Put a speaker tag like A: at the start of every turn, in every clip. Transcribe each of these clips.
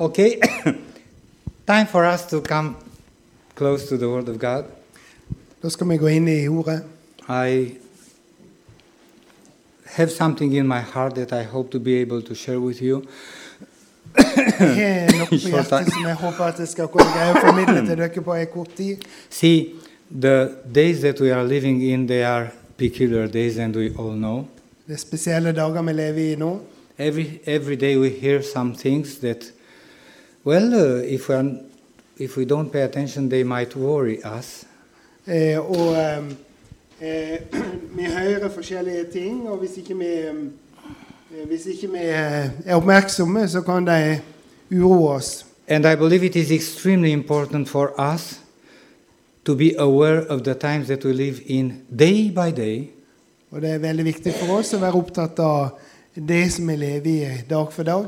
A: okay. Time for us to come close to the Word of God.
B: Da skal vi gå inn i ordet.
A: I have something in my heart that I hope to be able to share with you.
B: Jeg har noe på
A: Short time.
B: hjertet som jeg håper at jeg skal kunne greie å formidle til dere på en kort tid.
A: See, the days that we are living in, they are peculiar days, and we all know.
B: Det er spesielle dager vi lever i nå.
A: Every every day we hear some things that, well, uh, if we are, if we don't pay attention, they might worry us.
B: Eh, og ehm, eh, vi hører forskjellige ting, og hvis ikke vi, ehm, eh, hvis ikke vi eh, er oppmerksomme, så kan de uroe oss.
A: And I believe it is extremely important for us to be aware of the times that we live in day by day,
B: Og det er veldig viktig for oss å være opptatt av det som vi lever i dag for dag.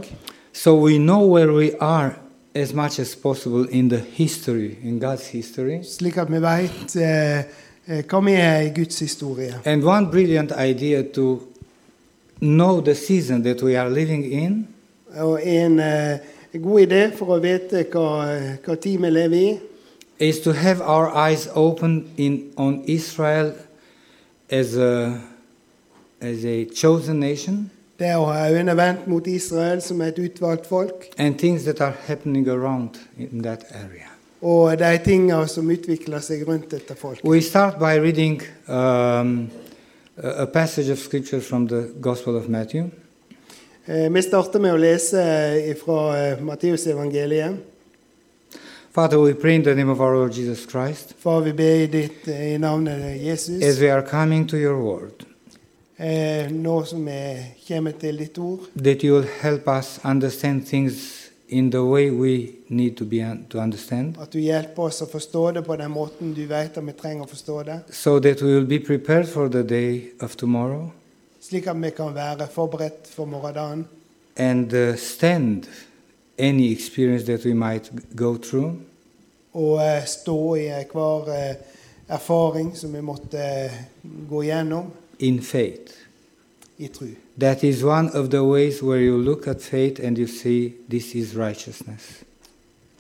A: so we know where we are as much as possible in the history, in God's history.
B: Slik at vi veit eh, eh, hva vi er i Guds historie.
A: And one brilliant idea to know the season that we are living in
B: Og en eh, god idé for å vite hva, hva tid vi lever i,
A: is to have our eyes open in, on Israel as a, as a chosen nation
B: det er å ha øynene vendt mot Israel som et utvalgt folk,
A: and things that are happening around in that area.
B: og de tinga som utvikler seg rundt dette folk.
A: We start by reading um, a a passage of scripture from the Gospel of Matthew.
B: Eh, vi starter med å lese fra eh, Matteusevangeliet.
A: Father, we pray in the name of our Lord Jesus Christ
B: Far, vi ber i ditt eh, i navnet
A: as
B: Jesus,
A: we are coming to your word
B: eh, nå som vi kommer til ditt ord.
A: that you will help us understand things in the way we need to be un- to understand
B: At du hjelper oss å forstå det på den måten du vet at vi trenger å forstå det.
A: so that we will be prepared for the day of tomorrow
B: Slik at vi kan være forberedt for morgendagen
A: and uh, stand any experience that we might g- go through
B: og eh, stå i hver eh, erfaring som vi måtte eh, gå gjennom
A: in faith.
B: i tru.
A: That is one of the ways where you look at faith and you see this is righteousness.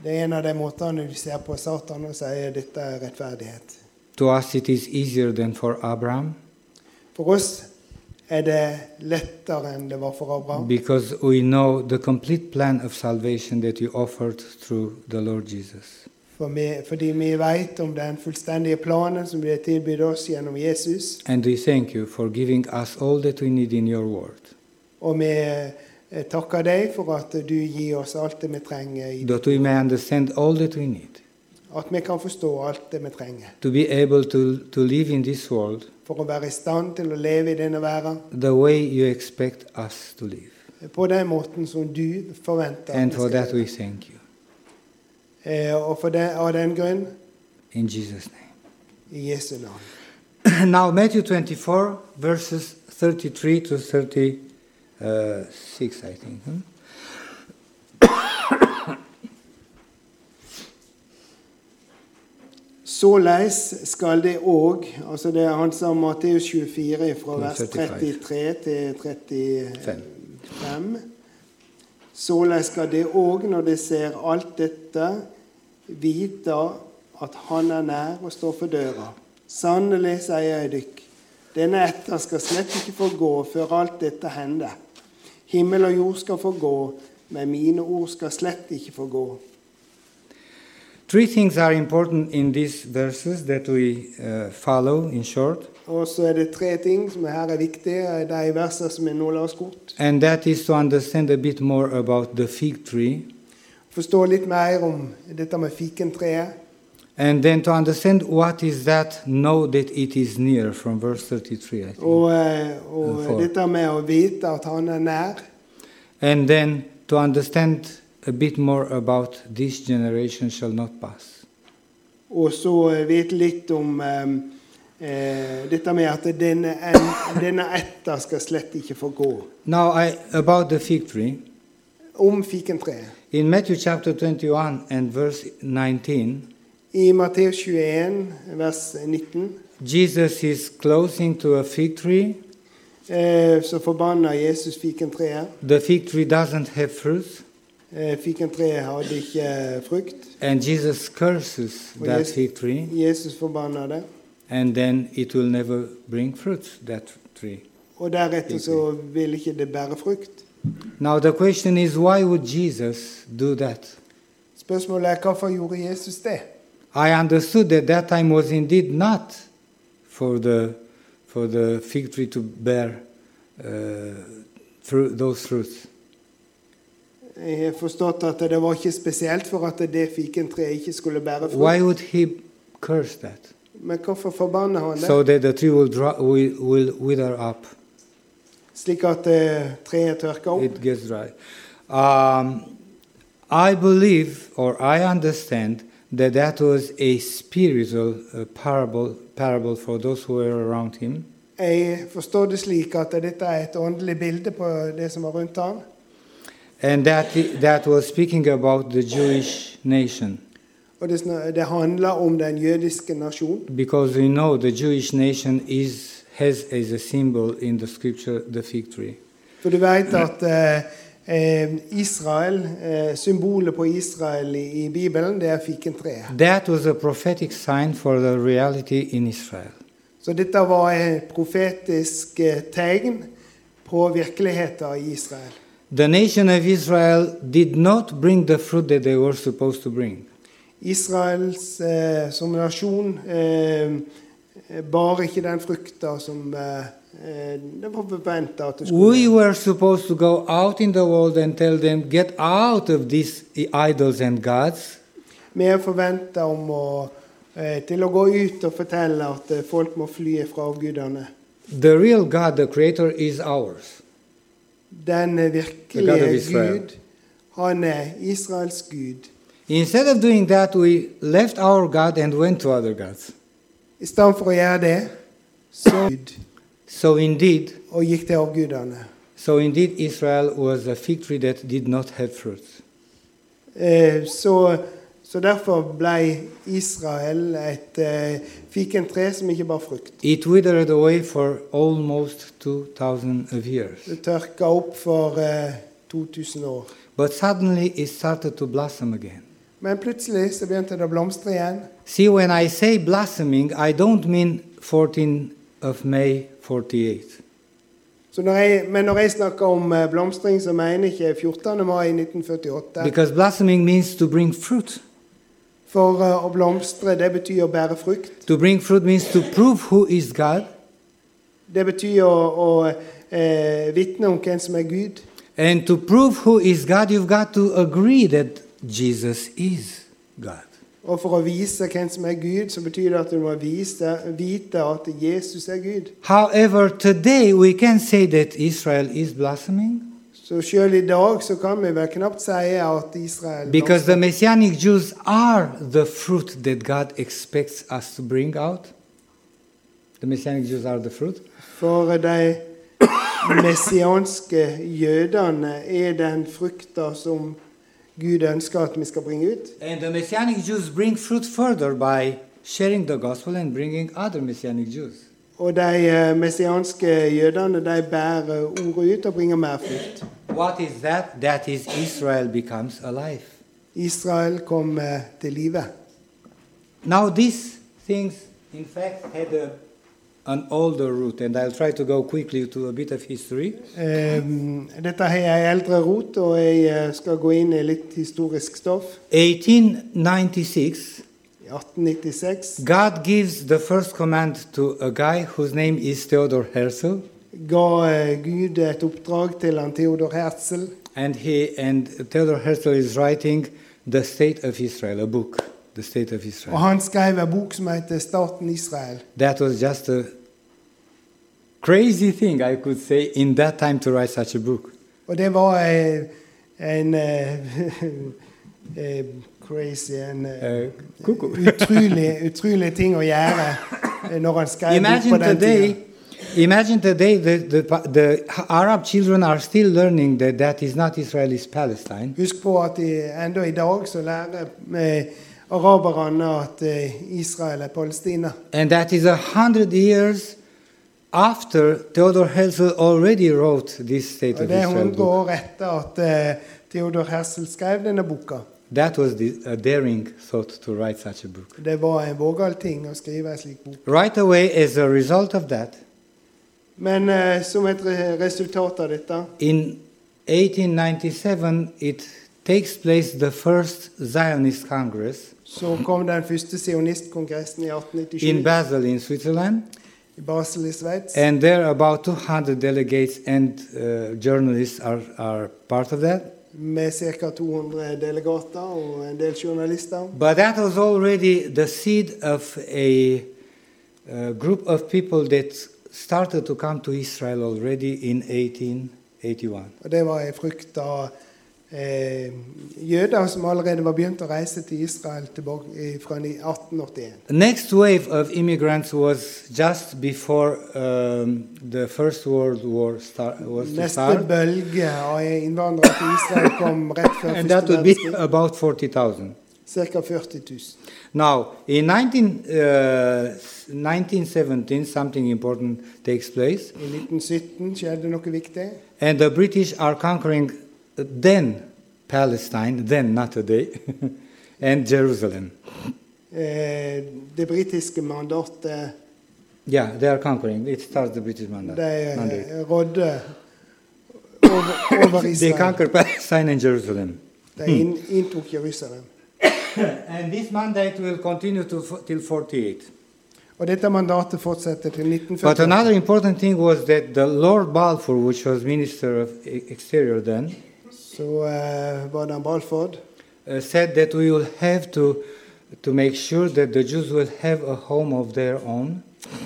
B: Det er en av de måtene du ser på Satan og sier dette er rettferdighet.
A: To us, it is easier than for Abraham
B: For oss er det lettere enn det var for Abraham.
A: because we know the complete plan of salvation that you offered through the Lord Jesus.
B: For vi, fordi vi vet om den fullstendige planen som ble tilbudt oss gjennom Jesus.
A: And we thank you for giving us all that we need in your word.
B: Og vi eh, takker deg for at du gir oss alt det vi trenger. i-
A: That we may understand all that we need
B: At vi kan forstå alt det vi trenger.
A: to be able to, to live in this world
B: For å være i stand til å leve i denne verden.
A: the way you expect us to live.
B: på den måten som du forventer. at
A: And
B: vi
A: for
B: skal
A: that we thank you.
B: gjøre. Eh, Og for den, av den grunn,
A: In Jesus' name.
B: i Jesu navn.
A: now matthew 24 verses 33 to 36 i think hmm?
B: Såleis skal det òg Altså det er han sa Matteus 24 fra
A: Til
B: vers
A: 35.
B: 33 til 35. Såleis skal det òg, når det ser alt dette, vite at han er nær og står for døra. Sannelig, sier jeg dykk, denne etter skal slett ikke forgå før alt dette hender. Himmel og jord skal forgå, men mine ord skal slett ikke forgå.
A: three things are important in these verses that we uh, follow in short
B: Og så er det tre ting som her er viktige. De versene som er nå la oss kort.
A: and that is to understand a bit more about the fig tree
B: Forstå litt mer om dette med fikentreet.
A: and then to understand what is that know that it is near from verse 33 i think
B: Og, eh, og
A: For-
B: dette med å vite at han er nær.
A: and then to understand a bit more about this generation shall not pass
B: Og så eh, vite litt om eh, eh, dette med at denne, en, denne etter skal slett ikke få gå.
A: now I, about the fig tree
B: Om fikentreet.
A: In Matthew chapter 21 and verse 19,
B: I Matteus 21, vers 19,
A: Jesus is closing to a fig tree.
B: eh, så forbanner Jesus fikentreet.
A: The fig tree doesn't have fruit,
B: Eh, Fikentreet hadde ikke eh, frukt.
A: And Jesus curses
B: Oh,
A: that
B: yes.
A: fig tree,
B: Jesus forbanna det.
A: and then it will never bring fruits, that tree.
B: Og deretter så ville ikke det bære frukt.
A: Now, the question is why would Jesus do that?
B: Spørsmålet er hvorfor gjorde Jesus det?
A: I understood that that time was indeed not for the, for the fig tree to bear uh, through those fruits.
B: Jeg har forstått at det var ikke spesielt for at det fikentreet ikke skulle bære
A: Why
B: frukt.
A: would he curse that?
B: Men hvorfor forbanna han det?
A: So that the tree will, dry, will, will wither up.
B: Slik at eh, treet tørka opp?
A: It gets dry. Um, I believe or I understand that that was a spiritual uh, parable, parable for those who were around him.
B: Jeg forstår det slik at dette er et åndelig bilde på det som var rundt ham.
A: And that, that was speaking about the Jewish nation.
B: Og det, sn- det handler om den jødiske nasjon.
A: Because we know the Jewish nation is, has as a symbol in the scripture the fig tree.
B: For du vet at eh, eh, Israel, eh, symbolet på Israel i, i Bibelen, det er fikentreet.
A: That was a prophetic sign for the reality in Israel.
B: Så dette var et profetisk eh, tegn på virkeligheten i Israel.
A: The nation of Israel did not bring the fruit that they were supposed to bring.
B: Israels eh, som nasjon eh, bar ikke den frukta som eh, eh, det var forventa at det skulle
A: We were supposed to go out in the world and tell them, get out of these idols and gods.
B: Vi er forventa om å, eh, til å gå ut og fortelle at eh, folk må fly fra avgudene.
A: The real God, the Creator, is ours.
B: Den
A: The God of
B: virkelige
A: Israel.
B: Gud, han er Israels gud.
A: Instead of doing that, we left our God and went to other gods.
B: I stedet for å gjøre det, så Gud
A: So indeed,
B: og gikk til avgudene.
A: so indeed, Israel was a fig tree that did not have fruits.
B: Eh, Så, så derfor ble Israel et eh, fikentre som ikke bar frukt.
A: It withered away for almost 2,000 of years.
B: Det tørka opp for eh, 2000 år.
A: But suddenly it started to blossom again.
B: Men plutselig så begynte det å blomstre igjen.
A: See, when I say blossoming, I don't mean 14 of May 48.
B: Så når jeg, men når jeg snakker om eh, blomstring, så mener jeg ikke 14. mai 1948.
A: Because blossoming means to bring fruit.
B: For eh, å blomstre, det betyr å bære frukt.
A: To bring fruit means to prove who is God
B: Det betyr å, å eh, vitne om hvem som er Gud.
A: And to prove who is God, you've got to agree that Jesus is God.
B: Og for å vise hvem som er Gud, så betyr det at du må vise, vite at Jesus er Gud.
A: However, today we can say that Israel is blossoming
B: Så sjøl i dag så kan vi vel knapt si at Israel
A: because the Messianic Jews are the fruit that God expects us to bring out. The Messianic Jews are the fruit.
B: For de messianske jødene er den frukta som Gud ønsker at vi skal bringe ut.
A: And the Messianic Jews bring fruit further by sharing the gospel and bringing other Messianic Jews.
B: Og de eh, messianske jødene de bærer ordet ut og bringer mer frukt.
A: What is that? That is Israel becomes alive.
B: Israel kom eh, til live.
A: Now, these things, in fact, had a, an older root, and I'll try to go quickly to a bit of history.
B: Eh, Dette har jeg eldre rot, og jeg eh, skal gå inn i litt historisk stoff.
A: 1896,
B: I 1896
A: God gives the first command to a guy whose name is Theodor Herzl,
B: ga eh, Gud et oppdrag til han Theodor Herzl.
A: and, he, and Theodor Herzl is writing The State of Israel, a book, The State of
B: Og
A: Israel.
B: han skrev en bok som heter 'Staten Israel'.
A: That was just a crazy thing, I could say, in that time to write such a book.
B: Og det var eh, en eh, eh, crazy En eh,
A: Uh, cuckoo.
B: utrolig, utrolig ting å gjøre eh, når han skrev bok
A: Imagine
B: på den tida.
A: today, imagine today the, the, the Arab children are still learning that that is not Israel, it's Palestine.
B: Husk på at i, enda i dag så lærer eh, araberne at eh, Israel er Palestina.
A: And that is a hundred years After Theodor Herzl already wrote this state
B: Og
A: of
B: Det er
A: Israel
B: 100
A: book,
B: år etter at eh, Theodor Herzl skrev denne boka.
A: that was the, a daring thought to write such a book.
B: Det var en vågal ting å skrive en slik bok.
A: Right away, as a result of that,
B: Men eh, som et re- resultat av dette
A: in 1897, it takes place the first Zionist Congress
B: så kom den første sionistkongressen i
A: in
B: 1897
A: Basel, in Switzerland,
B: i Basel i Sveits.
A: and there are about 200 delegates and uh, journalists are, are part of that.
B: Med ca. 200 delegater og en del journalister.
A: But that was already the seed of a, uh group of people that started to come to Israel already in 1881.
B: Og det var en frukt av eh, jøder som allerede var begynt å reise til Israel tilbake, i- fra ni- 1881.
A: The next wave of immigrants was just before um, the First World War star- was to
B: Neste
A: start,
B: bølge av innvandrere til Israel kom rett før
A: and that
B: første
A: would be
B: verdenskrig.
A: about 40,000.
B: Ca. 40 000.
A: Now, in 19, uh, 1917, something important takes place,
B: I 1917 skjedde noe viktig.
A: and the British are conquering uh, then Palestine, then not today, and Jerusalem.
B: Eh, det britiske mandatet
A: Yeah, they are conquering. It starts the British mandate.
B: de eh,
A: mandate.
B: rådde over, over
A: They
B: Israel.
A: conquer Palestine and Jerusalem.
B: De inn, inntok Jerusalem.
A: And this mandate will continue to, f- till 48.
B: Og dette mandatet fortsetter til
A: But
B: 1940.
A: another important thing was that the Lord Balfour, which was Minister of E- Exterior then,
B: Så eh, var det Balford.
A: uh, said that we will have to, to make sure that the Jews will have a home of their own.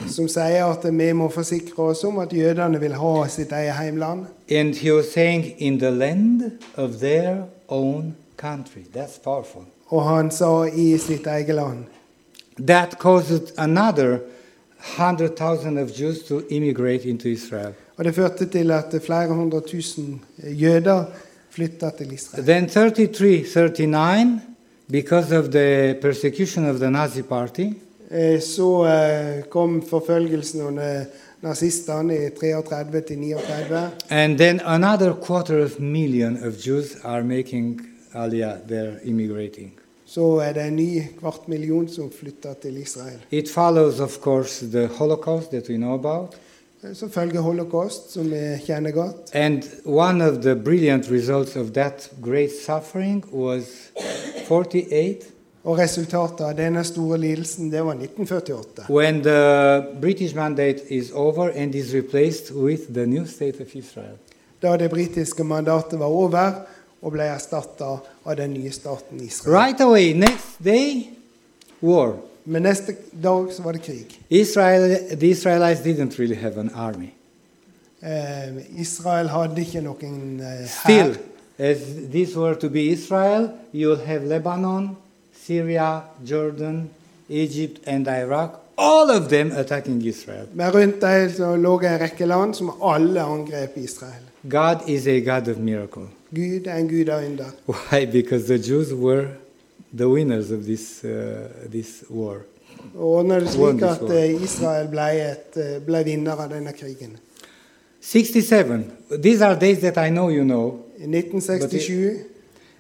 B: som sier at vi må forsikre oss om at jødene vil ha sitt eget heimland.
A: And he was saying, in the land of their own country. That's powerful.
B: Og han sa i sitt eget land.
A: That caused another 100,000 of Jews to immigrate into Israel.
B: Og det førte til at flere hundre tusen jøder flytta til Israel.
A: Then 33, 39, because of the persecution of the Nazi party,
B: Eh, Så eh, kom forfølgelsen under nazistene i 33 til 39.
A: and then another quarter of million of Jews are making Aliyah, they're immigrating.
B: Så er det en ny kvart million som flytter til Israel.
A: It follows, of course, the Holocaust that we know about.
B: Eh, Så følger holocaust, som vi kjenner godt.
A: And one of the brilliant results of that great suffering was 48,
B: Og resultatet av denne store lidelsen, det var 1948.
A: when the British mandate is over and is replaced with the new state of Israel.
B: da det britiske mandatet var over og ble erstatta av den nye staten Israel.
A: Right away, next day, war.
B: Men neste dag så var det krig.
A: Israel, the Israelites didn't really have an army.
B: Eh, Israel hadde ikke noen eh, hær.
A: Still, as this were to be Israel, you'll have Lebanon, Syria, Jordan, Egypt, and Iraq, all of them attacking Israel.
B: Men rundt dem så lå en rekke land som alle angrep Israel.
A: God is a God of miracle.
B: Gud er en gud av under.
A: Why? Because the Jews were the winners of this, uh, this war.
B: Og ordnet det slik
A: Wonderful.
B: at eh, Israel ble, et, eh, ble vinner av denne krigen.
A: 67. These are days that I know you know.
B: I 1967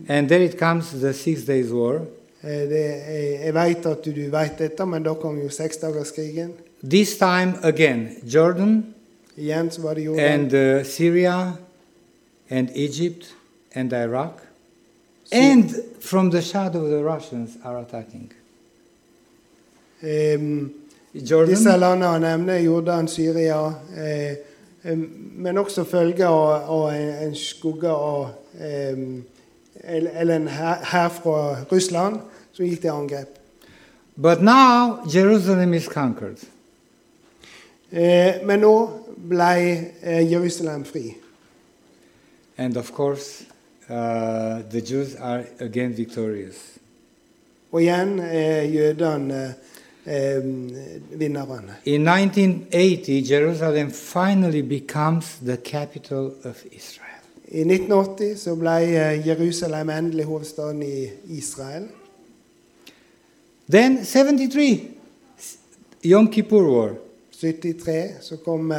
A: And there it comes, the Six Days War.
B: eh, det, jeg, jeg vet at du, du vet dette, men da kom jo seksdagerskrigen.
A: This time again, Jordan,
B: Igjen så var det Jordan.
A: and uh, Syria and Egypt and Iraq.
B: Så-
A: And from the shadow, the Russians are attacking.
B: Ehm, Disse
A: Jordan,
B: landene han nevner, Jordan, Syria eh, eh, Men også følger av, av en, en skugge av eh, Eller eller en hær hær fra Russland som gikk til angrep.
A: but now Jerusalem is conquered.
B: Eh, men nå ble eh, Jerusalem fri.
A: And of course, uh, the Jews are again victorious.
B: Og igjen er jødene eh, eh, vinnerne.
A: In 1980, Jerusalem finally becomes the capital of Israel.
B: I 1980 så ble eh, Jerusalem endelig hovedstaden i Israel.
A: Then, 73, Yom Kippur War.
B: 73 så kom eh,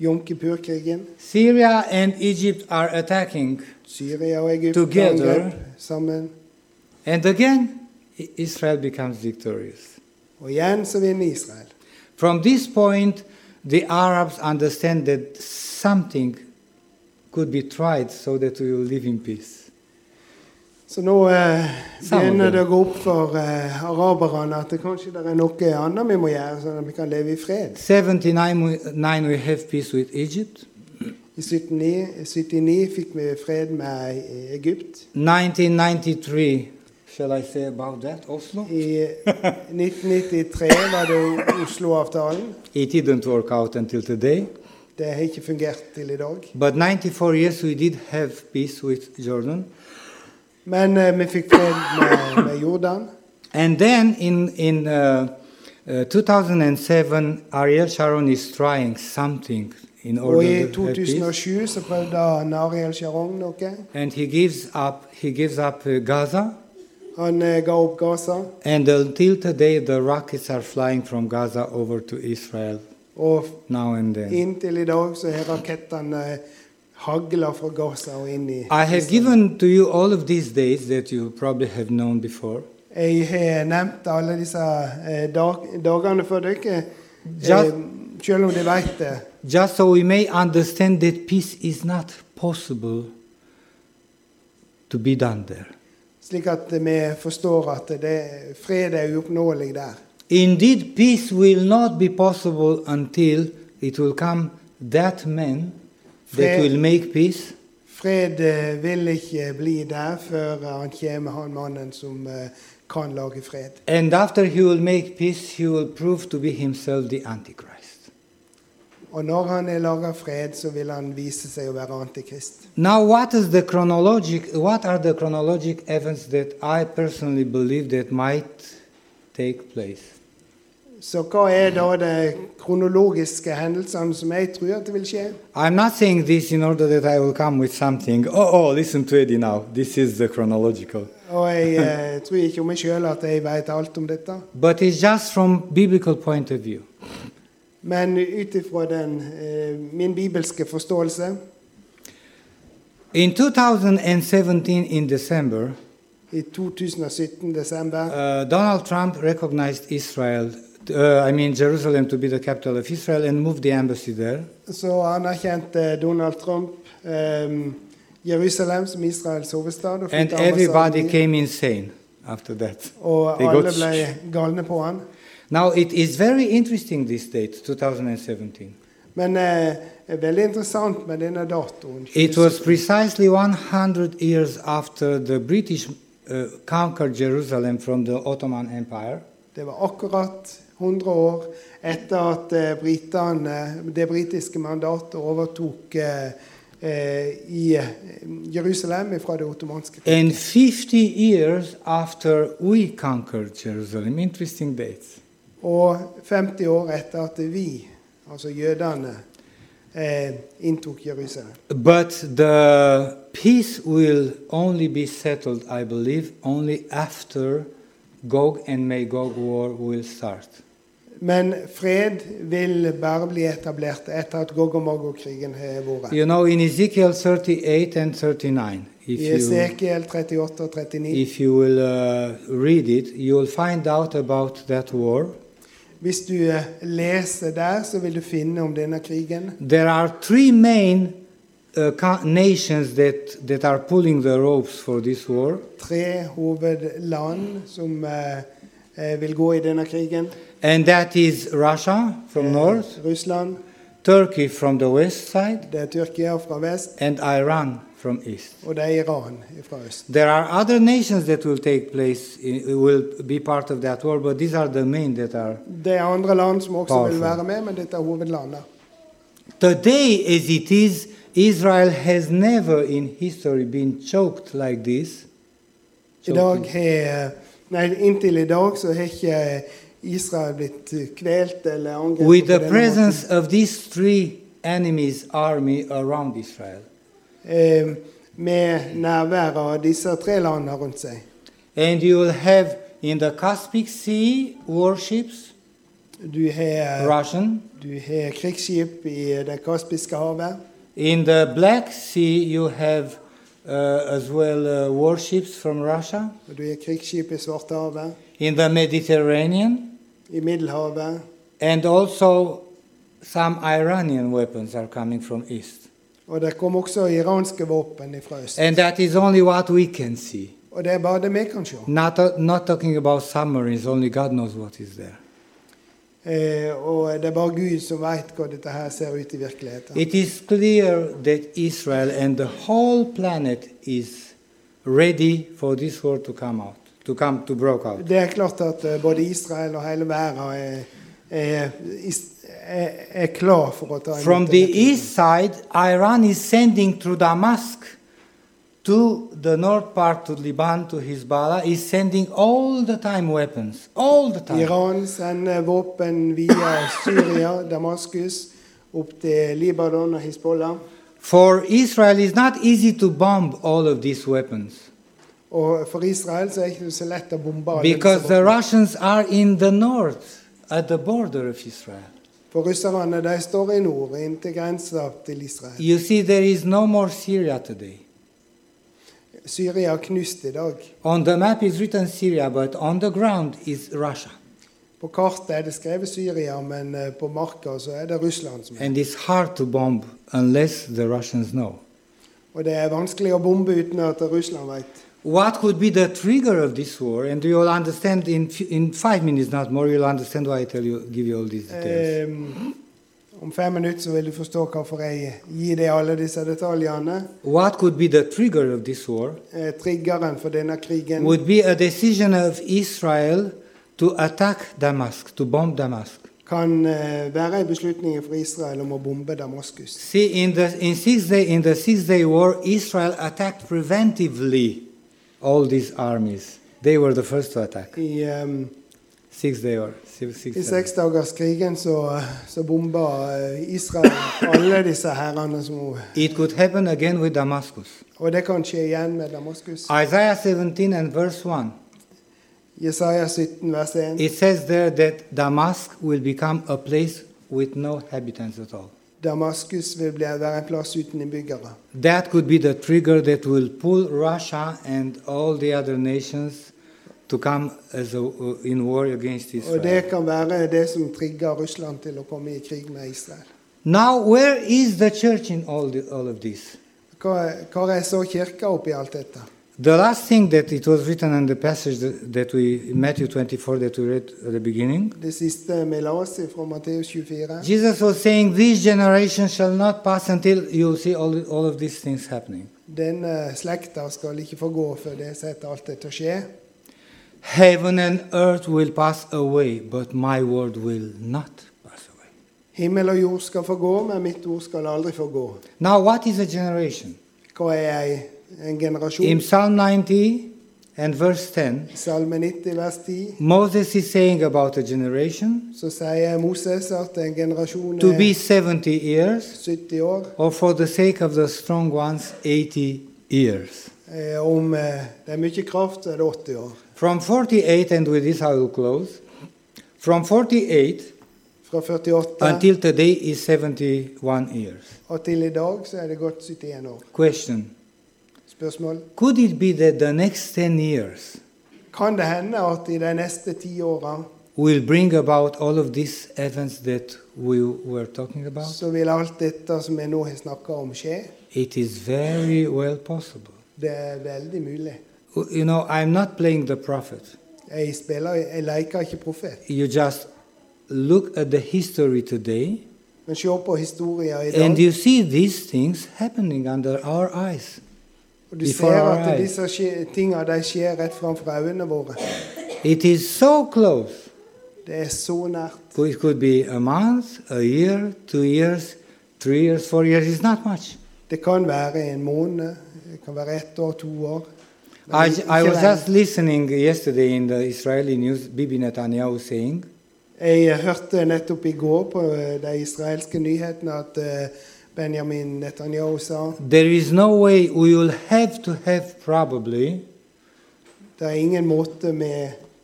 B: Jom Kippur-krigen.
A: Syria and Egypt are attacking,
B: Syria og Egypt
A: Together.
B: angrep sammen.
A: and again I- Israel becomes victorious.
B: Og igjen så vinner Israel.
A: From this point, the Arabs understand that something could be tried so that we will live in peace.
B: Så nå eh,
A: Sammen.
B: begynner det å gå opp for eh, araberne at det kanskje det er noe annet vi må gjøre, sånn at vi kan leve i fred.
A: 79 we, nine we have peace with Egypt.
B: I 79, 79 fikk vi fred med eh, Egypt.
A: 1993, shall I say about that, Oslo?
B: I 1993 var det jo Oslo-avtalen.
A: It didn't work out until today.
B: Det har ikke fungert til i dag.
A: But 94 years we did have peace with Jordan.
B: Men eh, vi fikk fred med, med Jordan.
A: And then in, in uh, uh, 2007, Ariel Sharon is trying something in
B: Og i
A: order to have peace.
B: 2007 så prøvde han Ariel Sharon noe.
A: And he gives up, he gives up uh, Gaza.
B: Han eh, ga opp Gaza.
A: And until today, the rockets are flying from Gaza over to Israel
B: Og
A: now and then.
B: inntil i dag så har rakettene eh, hagla fra Gaza og inn i
A: I have given to you all of these dates that you probably have known before,
B: Jeg har nevnt alle disse eh, dag, dagene for dere, eh,
A: Just-
B: selv om de vet det.
A: just so we may understand that peace is not possible to be done there.
B: Slik at vi forstår at det, fred er uoppnåelig der.
A: Indeed, peace will not be possible until it will come that man that
B: Fair.
A: will make peace,
B: Fred eh, vil ikke bli der før han kommer, han mannen som eh, kan lage fred.
A: and after he will make peace, he will prove to be himself the Antichrist.
B: Og når han har laga fred, så vil han vise seg å være antikrist.
A: Now, what is the chronologic? What are the chronologic events that I personally believe that might take place?
B: Så hva er da de kronologiske hendelsene som jeg tror at det vil skje?
A: I'm not saying this in order that I will come with something. Oh, oh, listen to Eddie now. This is the chronological.
B: Og jeg eh, tror ikke om meg sjøl at jeg veit alt om dette.
A: But it's just from biblical point of view.
B: Men ut ifra den, eh, min bibelske forståelse
A: In 2017, in December,
B: i 2017 desember
A: uh, Donald Trump recognized Israel, uh, I mean Jerusalem, to be the capital of Israel and moved the embassy there.
B: så anerkjente eh, Donald Trump eh, Jerusalem som Israels hovedstad. Og,
A: And
B: flyttet ambassaden
A: everybody
B: dit.
A: came insane after that.
B: og
A: They
B: alle
A: got-
B: ble galne på han.
A: Now, it is very interesting this date, 2017.
B: Men eh, det er veldig interessant med denne datoen.
A: It was precisely 100 years after the British uh, conquered Jerusalem from the Ottoman Empire.
B: Det var akkurat 100 år etter at eh, britene, det britiske mandatet overtok eh, eh, i eh, Jerusalem fra det ottomanske kriget.
A: And 50 years after we conquered Jerusalem. Interesting dates.
B: Og 50 år etter at vi, altså jødene, eh, inntok Jerusalem.
A: But the peace will only be settled, I believe, only after Gog and Magog war will start.
B: Men fred vil bare bli etablert etter at Gog og Magog-krigen har vært.
A: You know, in Ezekiel 38 and 39, if
B: I
A: you
B: Esekiel 38 og 39.
A: if you will uh, read it, you will find out about that war.
B: Hvis du eh, leser der, så vil du finne om denne krigen.
A: There are three main uh, co- nations that, that are pulling the ropes for this war,
B: tre hovedland som eh, eh, vil gå i denne krigen.
A: and that is Russia from
B: Eh,
A: north,
B: Russland,
A: Turkey from the west side,
B: det er Tyrkia fra vest,
A: and Iran from east.
B: og det er Iran fra øst.
A: There are other nations that will take place, i- will be part of that war, but these are the main that are.
B: Det er andre land som også
A: Powerful.
B: vil være med, men dette er hovedlandet.
A: Today, as it is, Israel has never in history been choked like this.
B: I dag har Nei, inntil i dag så har ikke Israel blitt kvelt eller angrepet.
A: With
B: på
A: the
B: denne
A: presence of these three enemies' army around Israel.
B: måten. Eh, med nærvær av disse tre landene rundt seg.
A: And you will have in the Caspic Sea warships,
B: Du har,
A: Russian.
B: du har krigsskip i Det kaspiske havet.
A: In the Black Sea, you have uh, as well uh, warships from Russia.
B: Og du har krigsskip i Svartehavet.
A: In the Mediterranean,
B: I Middelhavet.
A: and also some Iranian weapons are coming from east.
B: Og det kom også iranske våpen fra øst.
A: And that is only what we can see.
B: Og det er bare det vi kan se.
A: Not, not talking about submarines, only God knows what is there.
B: Eh, og det er bare Gud som veit hva dette her ser ut i virkeligheten.
A: It is clear that Israel and the whole planet is ready for this war to come out, to come to break out.
B: Det er klart at eh, både Israel og hele verden er, er, is- er, er klar for å ta imot
A: From the
B: dette.
A: east side, Iran is sending through Damascus to the north part, to Liban, to Hezbollah, is sending all the time weapons, all the time.
B: Iran sender våpen via Syria, Damaskus, opp til Libanon og Hizbollah.
A: For Israel, it's not easy to bomb all of these weapons
B: Og for Israel så er det ikke så lett å bombe alle
A: because
B: disse
A: the
B: våpnene.
A: Russians are in the north, at the border of Israel.
B: For russerne de står i nord, inntil grensa til Israel.
A: You see, there is no more Syria today.
B: Syria er knust i dag.
A: On the map is written Syria, but on the ground is Russia.
B: På kartet er det skrevet Syria, men eh, på marka så er det Russland som er.
A: And it's hard to bomb unless the Russians know.
B: Og det er vanskelig å bombe uten at Russland vet.
A: What could be the trigger of this war? And you'll understand in, f- in five minutes, not more, you'll understand why I tell you, give you all these
B: Uh,
A: details.
B: Ehm, om fem minutter så vil du forstå hvorfor jeg gir deg alle disse detaljene.
A: what could be the trigger of this war
B: Eh, triggeren for denne krigen
A: would be a decision of Israel to attack Damascus, to bomb Damascus.
B: kan eh, være en beslutning for Israel om å bombe Damaskus.
A: See, in the, in, six day, in the Six Day War, Israel attacked preventively all these armies. They were the first to attack.
B: I, ehm,
A: Six Day War. Six, six,
B: i
A: seven.
B: seksdagerskrigen så, så bomba eh, Israel alle disse herrene som
A: It could happen again with Damascus.
B: Og det kan skje igjen med Damaskus.
A: Isaiah 17 and verse 1.
B: Jesaja 17, vers 1.
A: It says there that Damascus will become a place with no habitants at all.
B: Damaskus vil bli, være en plass uten innbyggere.
A: That could be the trigger that will pull Russia and all the other nations to come as a, uh, in war against
B: Og det
A: Israel.
B: kan være det som trigger Russland til å komme i krig med Israel.
A: Now, where is the church in all, the, all of this?
B: Hva, hva er så kirka oppi alt dette?
A: The last thing that it was written in the passage that, that we, Matthew 24, that we read at the beginning,
B: Det siste vi la oss i fra Matteus 24.
A: Jesus was saying, This generation shall not pass until you see all, all of these things happening.
B: Denne eh, slekta skal ikke få gå før det setter alt dette skje.
A: Heaven and earth will pass away, but my word will not pass away.
B: Himmel og jord skal få gå, men mitt ord skal aldri få gå.
A: Now, what is a generation?
B: Hva er ei, en
A: In
B: generasjon?
A: Psalm 90 and verse 10,
B: Salme 90 vers 10
A: Moses is saying about a generation
B: så sier Moses at en generasjon
A: to be
B: er
A: 70 years,
B: 70 år.
A: or for the sake of the strong ones, 80 years.
B: Eh, Om eh, det er mye kraft, så er det 80 år.
A: From 48, and with this I will close, from 48
B: Fra 48
A: until today is 71 years.
B: og til i dag så er det gått 71 år.
A: Question
B: Spørsmål?
A: Could it be that the next 10 years
B: Kan det hende at i de neste ti åra
A: will bring about all of these events that we were talking about?
B: så vil alt dette som vi nå har snakka om, skje?
A: It is very well possible.
B: Det er veldig mulig.
A: You know, I'm not playing the prophet.
B: Jeg spiller, jeg leker ikke profet.
A: You just look at the history today
B: Men se på historia i
A: and
B: dag,
A: you see these things happening under our eyes.
B: og du
A: before
B: ser
A: our
B: at
A: eyes.
B: disse skje- tinga de skjer rett framfor øynene våre.
A: It is so close.
B: Det er så nært.
A: It could be a month, a year, two years, three years, four years. It's not much.
B: Det kan være en måned, det kan være ett år, to år. Men
A: I,
B: ikke
A: I was
B: lenge.
A: just listening yesterday in the Israeli news, Bibi Netanyahu saying,
B: Jeg hørte nettopp i går på eh, de israelske nyhetene at eh, Benjamin Netanyahu sa
A: There is no way we will have to have probably
B: det er ingen måte vi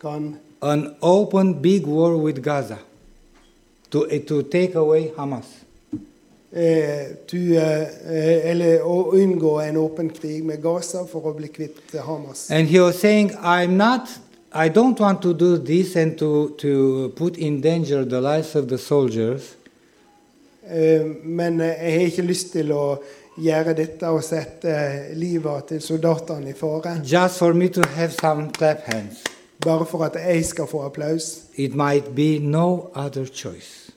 B: kan
A: an open big war with Gaza. to, eh, to take away Hamas.
B: Eh, du, eh, eller å unngå en åpen krig med Gaza for å bli kvitt eh, Hamas.
A: And he was saying, I'm not, I don't want to do this and to, to put in danger the lives of the soldiers,
B: Eh, Men eh, jeg har ikke lyst til å gjøre dette og sette eh, livet til soldatene i fare
A: just for me to have some clap hands.
B: bare for at jeg skal få applaus.
A: It might be no other choice.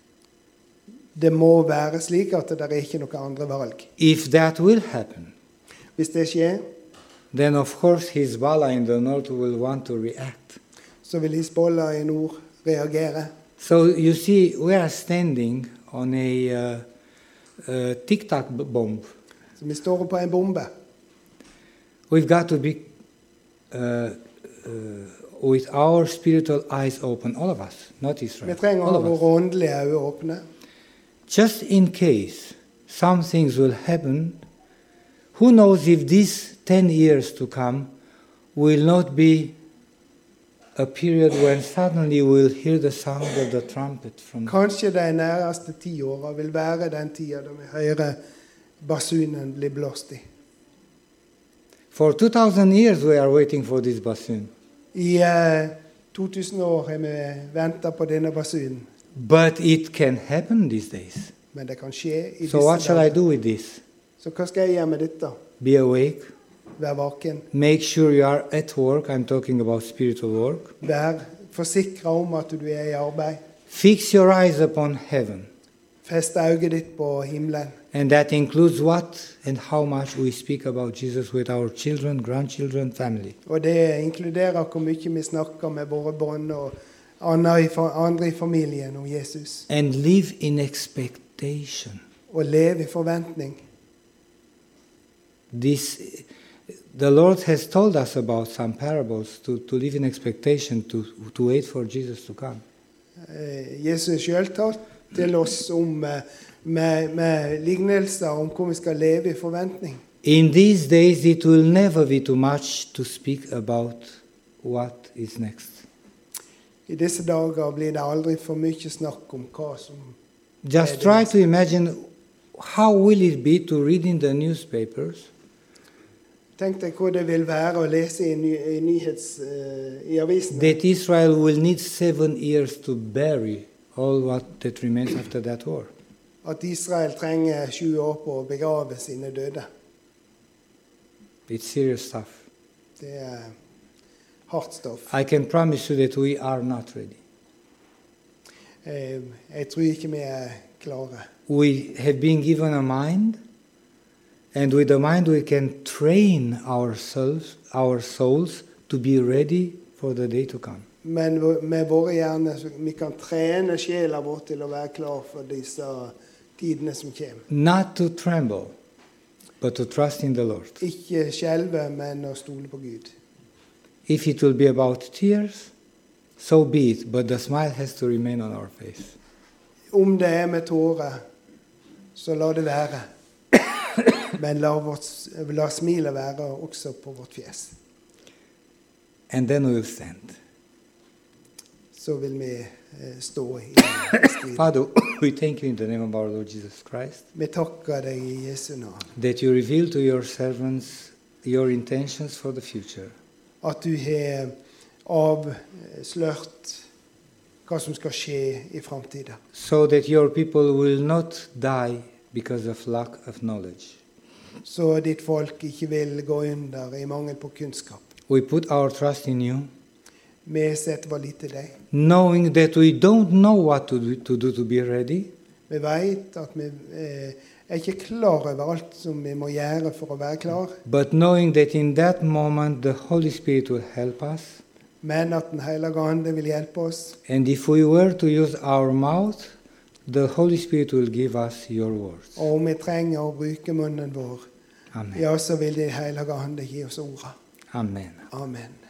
B: Det må være slik at det er ikke noe andre valg.
A: If that will happen,
B: Hvis det skjer,
A: then of course Hezbollah in the north will want to react.
B: så vil Hizbollah i nord reagere.
A: So you see, we are standing on a uh, uh, tic-tac b- bomb.
B: Så vi står på en bombe.
A: We've got to be uh, uh, with our spiritual eyes open, all of us, not
B: Vi
A: Israel.
B: trenger å
A: all
B: ha
A: of us.
B: våre åndelige øyne åpne.
A: Just in case some things will happen, who knows if these 10 years to come will not be a period when suddenly we'll hear the sound of the trumpet from
B: Kanskje de næreste ti åra vil være den tida da vi hører basunen bli blåst i.
A: For 2000 years we are waiting for this bassoon.
B: I eh, 2000 år har vi venta på denne basunen.
A: But it can happen these days.
B: Men det kan skje i
A: So what
B: disse
A: shall I
B: dager.
A: do with this?
B: Så hva skal jeg gjøre med dette?
A: Be awake,
B: Vær vaken.
A: make sure you are at work. I'm talking about spiritual work.
B: Vær forsikra om at du er i arbeid.
A: Fix your eyes upon heaven.
B: Fest øyet ditt på himmelen.
A: And that includes what and how much we speak about Jesus with our children, grandchildren, family.
B: Og det inkluderer hvor mye vi snakker med våre barn og andre i, fa- andre i familien om Jesus.
A: And live in expectation.
B: Og leve i forventning.
A: This, the Lord has told us about some parables to, to live in expectation, to, to wait for Jesus to come.
B: Eh, Jesus sjøl talte til oss om eh, med, med lignelser om hvor vi skal leve i forventning.
A: In these days, it will never be too much to speak about what is next.
B: I disse dager blir det aldri for mye snakk om hva som
A: Just
B: Yeah,
A: try
B: that's-
A: to imagine how will it be to read in the newspapers
B: Tenk deg hva det vil være å lese i, ny, i, nyhets, eh, i avisen
A: that Israel will need seven years to bury all what that remains after that war.
B: at Israel trenger sju år på å begrave sine døde.
A: It's serious stuff.
B: Det er hardt stoff.
A: I can promise you that we are not ready.
B: Eh, jeg tror ikke vi er klare.
A: We have been given a mind, and with the mind we can train ourselves, our souls, to be ready for the day to come.
B: Men v- med våre hjerner så vi kan trene sjela vår til å være klar for disse tidene som kommer.
A: not to tremble, but to trust in the Lord.
B: Ikke skjelve, men å stole på Gud.
A: If it will be about tears, so be it, but the smile has to remain on our face.
B: Om det er med tårer, så la det være. Men la, vårt, la smilet være også på vårt fjes.
A: And then we will stand.
B: så vil vi eh, stå i strid.
A: Father, we thank you in the name of our Lord Jesus Christ
B: Vi takker deg i Jesu navn
A: that you reveal to your servants your intentions for the future.
B: at du har avslørt hva som skal skje i framtida.
A: So that your people will not die because of lack of knowledge.
B: Så ditt folk ikke vil gå under i mangel på kunnskap.
A: We put our trust in you,
B: Vi setter vår lit til deg.
A: knowing that we don't know what to do to, do to be ready,
B: Vi vet at vi eh, er ikke klar over alt som vi må gjøre for å være klar,
A: But knowing that in that moment the Holy Spirit will help us,
B: men at Den hellige ande vil hjelpe oss.
A: and if we were to use our mouth, the Holy Spirit will give us your words.
B: Og om vi trenger å bruke munnen vår,
A: Amen.
B: ja, så vil Den hellige ande gi oss orda.
A: Amen.
B: Amen.